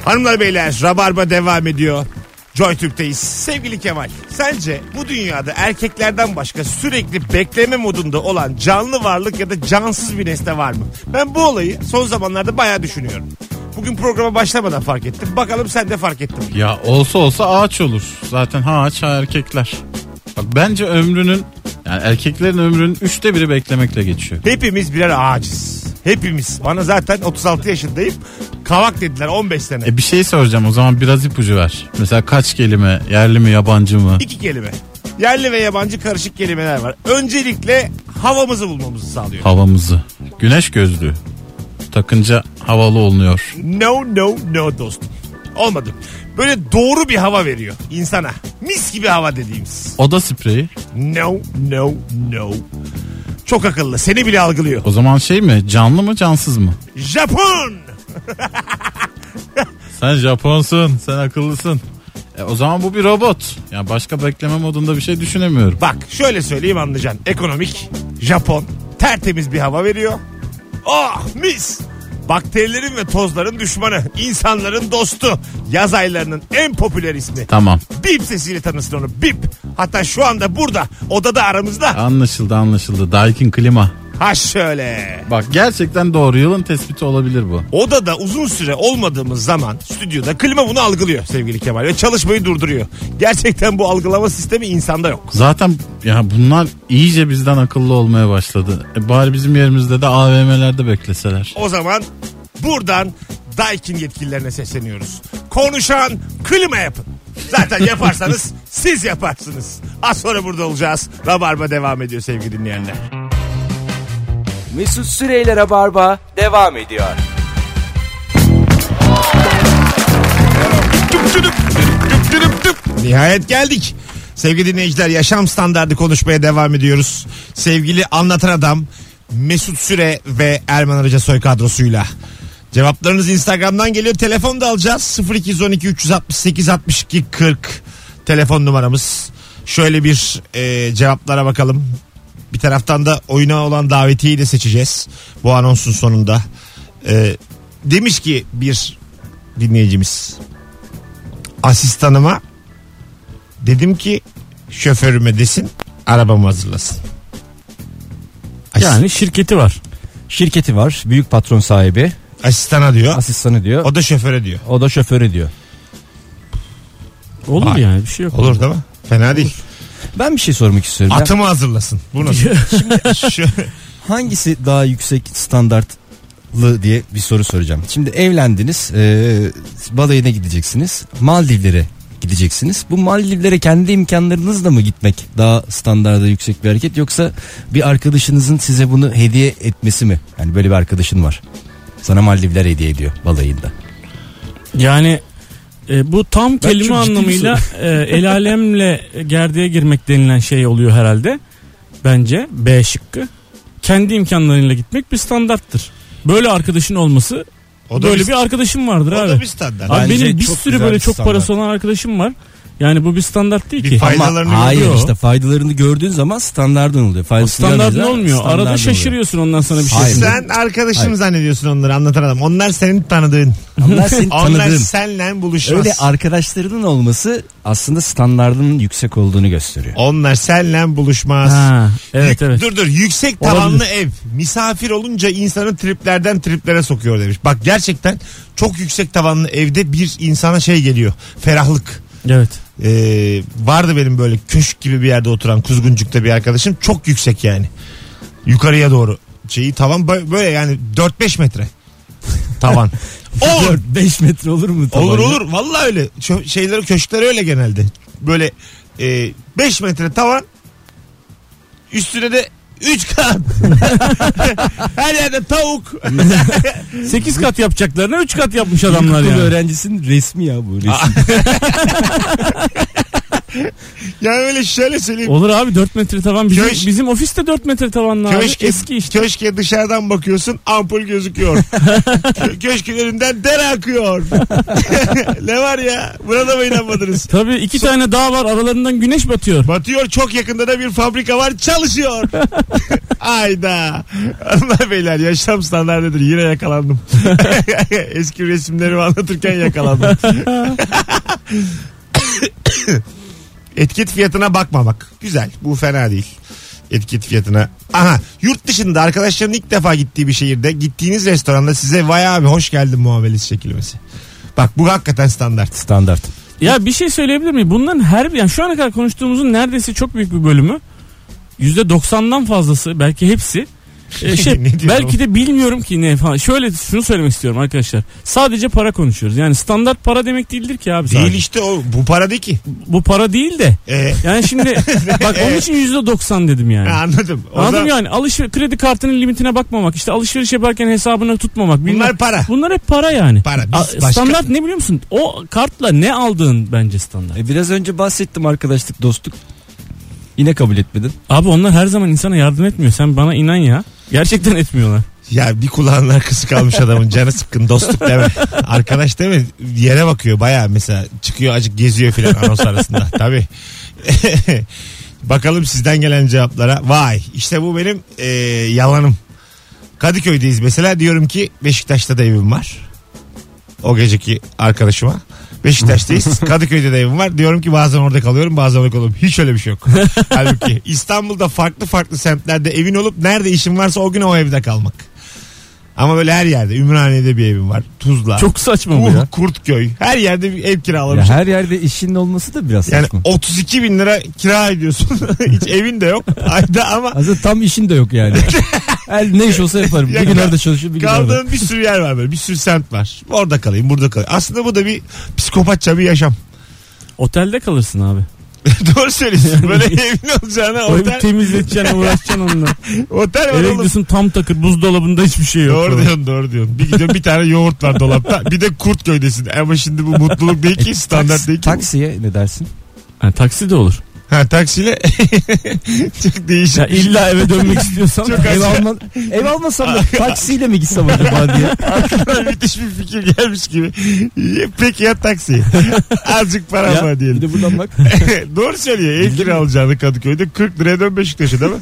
Hanımlar beyler Rabarba devam ediyor. JoyTürk'teyiz. Sevgili Kemal, sence bu dünyada erkeklerden başka sürekli bekleme modunda olan canlı varlık ya da cansız bir nesne var mı? Ben bu olayı son zamanlarda bayağı düşünüyorum. Bugün programa başlamadan fark ettim. Bakalım sen de fark ettin. mi?
Ya olsa olsa ağaç olur. Zaten ha ağaç ha erkekler. Bak bence ömrünün yani erkeklerin ömrünün üçte biri beklemekle geçiyor.
Hepimiz birer ağacız. Hepimiz. Bana zaten 36 yaşındayım. Kavak dediler 15 sene.
E bir şey soracağım o zaman biraz ipucu ver. Mesela kaç kelime yerli mi yabancı mı?
İki kelime. Yerli ve yabancı karışık kelimeler var. Öncelikle havamızı bulmamızı sağlıyor.
Havamızı. Güneş gözlüğü. Takınca havalı olunuyor.
No no no dostum. Olmadı. Böyle doğru bir hava veriyor insana. Mis gibi hava dediğimiz.
Oda spreyi.
No no no. Çok akıllı. Seni bile algılıyor.
O zaman şey mi canlı mı cansız mı?
Japon.
Sen Japonsun sen akıllısın. E o zaman bu bir robot. Yani başka bekleme modunda bir şey düşünemiyorum.
Bak şöyle söyleyeyim anlayacaksın. Ekonomik, Japon, tertemiz bir hava veriyor. Ah mis! Bakterilerin ve tozların düşmanı, insanların dostu. Yaz aylarının en popüler ismi.
Tamam
Bip sesiyle tanısın onu bip. Hatta şu anda burada, odada aramızda.
anlaşıldı anlaşıldı. Daikin klima.
Ha şöyle.
Bak gerçekten doğru yılın tespiti olabilir bu.
Odada uzun süre olmadığımız zaman stüdyoda klima bunu algılıyor sevgili Kemal ve çalışmayı durduruyor. Gerçekten bu algılama sistemi insanda yok.
Zaten ya bunlar iyice bizden akıllı olmaya başladı. E bari bizim yerimizde de AVM'lerde bekleseler.
O zaman buradan Daikin yetkililerine sesleniyoruz. Konuşan klima yapın. Zaten yaparsanız siz yaparsınız. Az sonra burada olacağız. Rabarba devam ediyor sevgili dinleyenler.
Mesut Süreyler'e barba devam ediyor.
Tüp tüdüp, tüp tüdüp tüp. Nihayet geldik. Sevgili dinleyiciler yaşam standardı konuşmaya devam ediyoruz. Sevgili anlatan adam Mesut Süre ve Erman Arıca Soy kadrosuyla. Cevaplarınız Instagram'dan geliyor. Telefon da alacağız. 0212 368 62 40 telefon numaramız. Şöyle bir e, cevaplara bakalım. Bir Bir taraftan da oyuna olan davetiyeyi de seçeceğiz. Bu anonsun sonunda. Ee, demiş ki bir dinleyicimiz. Asistanıma dedim ki şoförüme desin arabamı hazırlasın. Asist-
Yani şirketi var.
Şirketi var. Büyük patron sahibi.
asistana diyor.
Asistanı diyor.
O da şoföre diyor.
O da şoförü diyor.
Olur
Vay.
yani bir şey yok.
Olur değil mi? Fena değil.
Ben bir şey sormak istiyorum. Ya
Atımı hazırlasın. Bu nasıl? Şimdi şu,
hangisi daha yüksek standartlı diye bir soru soracağım. Şimdi evlendiniz. ee, balayına gideceksiniz. Maldivlere gideceksiniz. Bu Maldivlere kendi imkanlarınızla mı gitmek daha standarda yüksek bir hareket yoksa bir arkadaşınızın size bunu hediye etmesi mi? Yani böyle bir arkadaşın var. Sana Maldivler hediye ediyor balayında.
Yani e, bu tam
Ben
kelime
çok ciddi
anlamıyla e, el alemle gerdeğe girmek denilen şey oluyor herhalde. Bence B şıkkı. Kendi imkanlarıyla gitmek bir standarttır. Böyle arkadaşın olması
o da
böyle
bir,
bir arkadaşım vardır
o
abi.
da bir standart.
Abi
Bence
benim bir
çok
sürü
güzel
böyle
bir
çok
standart.
parası olan arkadaşım var. Yani bu bir standart değil
Bir
ki.
fay-
Ama
Faydalarını
hayır
görüyor.
işte faydalarını gördüğün zaman standardın oluyor.
O
Faydasını
standartın
görmediğin
olmuyor.
zaman standardın
Arada
oluyor.
şaşırıyorsun ondan sonra bir şey.
Hayır.
yapınca.
Sen arkadaşım zannediyorsun onları anlatan adam. Onlar senin tanıdığın.
Onlar seni
Onlar
tanıdığın.
senle buluşmaz.
Öyle arkadaşlarının olması aslında standardının yüksek olduğunu gösteriyor.
Onlar senle buluşmaz.
Ha, evet
Yük-
evet.
Dur dur yüksek
Olabilir.
tavanlı ev. Misafir olunca insanı triplerden triplere sokuyor demiş. Bak gerçekten çok yüksek tavanlı evde bir insana şey geliyor. Ferahlık.
Evet.
Ee, vardı benim böyle köşk gibi bir yerde oturan kuzguncukta bir arkadaşım. Çok yüksek yani. Yukarıya doğru. Şeyi tavan bö- böyle yani 4-5 metre. Tavan. Olur.
5 metre olur mu?
Olur
tabanca?
olur. Vallahi öyle. Çö- şeyleri köşkler öyle genelde. Böyle 5 metre tavan üstüne de 3 kat. Her yerde tavuk.
8 kat yapacaklarına 3 kat yapmış adamlar
İlkokul
yani. Ah.
öğrencisinin resmi ya bu resim.
yani öyle şöyle söyleyeyim.
Olur abi 4 metre tavan. Bizim,
Köş-
bizim ofiste 4 metre tavanlı abi.
Köşke,
Eski işte.
köşke dışarıdan bakıyorsun ampul gözüküyor. Kö- Köşkün önünden dere akıyor. ne var ya? Buna da mı inanmadınız?
Tabii iki tane dağ var aralarından güneş batıyor.
Batıyor çok yakında da bir fabrika var çalışıyor. Ayda. Allah beyler yaşam standartıdır yine yakalandım. Eski resimlerimi anlatırken yakalandım. Etiket fiyatına bakma bak. Güzel bu fena değil. Etiket fiyatına. Aha yurt dışında arkadaşların ilk defa gittiği bir şehirde gittiğiniz restoranda size vay abi hoş geldin muamelesi çekilmesi. Bak bu hakikaten standart.
Standart.
Ya bir şey söyleyebilir miyim? Bunların her bir yani şu ana kadar konuştuğumuzun neredeyse çok büyük bir bölümü %90'dan fazlası belki hepsi e, şey,
Ne diyorsun
belki de bilmiyorum ki ne falan. Şöyle şunu söylemek istiyorum arkadaşlar. Sadece para konuşuyoruz. Yani standart para demek değildir ki abi.
Değil
sadece.
işte o bu para değil ki.
Bu para değil de.
Ee,
Yani şimdi bak onun için %90 dedim yani.
anladım. O
Anladın
zaman-
mı yani alışveriş kredi kartının limitine bakmamak işte alışveriş yaparken hesabını tutmamak bilmem-
Bunlar para.
Bunlar hep para yani.
Para. Biz
A-
başka-
Standart ne biliyor musun? O kartla ne aldığın bence standart.
E biraz önce bahsettim arkadaşlık dostluk. Yine kabul etmedin.
Abi onlar her zaman insana yardım etmiyor. Sen bana inan ya. Gerçekten etmiyorlar.
Ya bir kulağının arkası kalmış adamın canı sıkkın dostluk deme. Arkadaş deme yere bakıyor baya mesela çıkıyor acık geziyor filan anons arasında tabi. Bakalım sizden gelen cevaplara. Vay işte bu benim e, yalanım. Kadıköy'deyiz mesela diyorum ki Beşiktaş'ta da evim var. O geceki arkadaşıma. Beşiktaş'tayız. Kadıköy'de de evim var. Diyorum ki bazen orada kalıyorum bazen orada kalıyorum. Hiç öyle bir şey yok. Halbuki İstanbul'da farklı farklı semtlerde evin olup nerede işin varsa o gün o evde kalmak. Ama böyle her yerde. Ümraniye'de bir evim var. Tuzla.
Çok saçma bu
Uh,
ya.
Kurtköy. Her yerde bir ev
Ya
kiralamış.
her yerde işinin olması da biraz
yani
saçma.
32 bin lira kira ediyorsun. Hiç evin de yok. Ayda ama
Aslında tam işin de yok yani. Her ne iş olsa yaparım.
Ya
bir gün
kal-
orada çalışıyorum bir gün orada.
kaldığın bir sürü yer var böyle. Bir sürü semt var. Orada kalayım burada kalayım. Aslında bu da bir psikopatça bir yaşam.
Otelde kalırsın abi.
Doğru söylüyorsun. Böyle evin olacağına
O evi
otel,
temizleteceksin uğraşacaksın onunla.
otel var
Eve
oğlum.
gidiyorsun tam takır buzdolabında hiçbir şey yok.
Doğru diyorsun doğru diyorsun. Bir gidiyorsun bir tane yoğurt var dolapta. Bir de Kurtköy'desin. Ama şimdi bu mutluluk değil ki standart değil ki.
Taksiye E, ne dersin?
Ha, taksi de olur.
Ha taksiyle çok şey değişik.
Ya illa eve dönmek istiyorsan
Ev, alma, ev almasam da taksiyle mi gitsem acaba diye.
Aklına müthiş bir fikir gelmiş gibi. Peki ya taksi. Azıcık
Ya,
param var
bir
diyelim.
de buradan bak.
Doğru söylüyor. Ev kira alacağını Kadıköy'de 40 liraya dön Beşiktaş'a değil mi?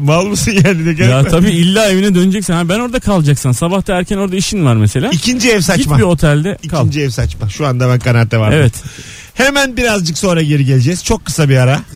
Mal mısın yani de gel.
ya tabii illa evine döneceksin. Ha, ben orada kalacaksan sabah da erken orada işin var mesela.
İkinci ev saçma.
Git bir otelde kal.
İkinci ev saçma. Şu anda ben kanaatte varım.
Evet.
Hemen birazcık sonra geri geleceğiz. Çok kısa bir ara.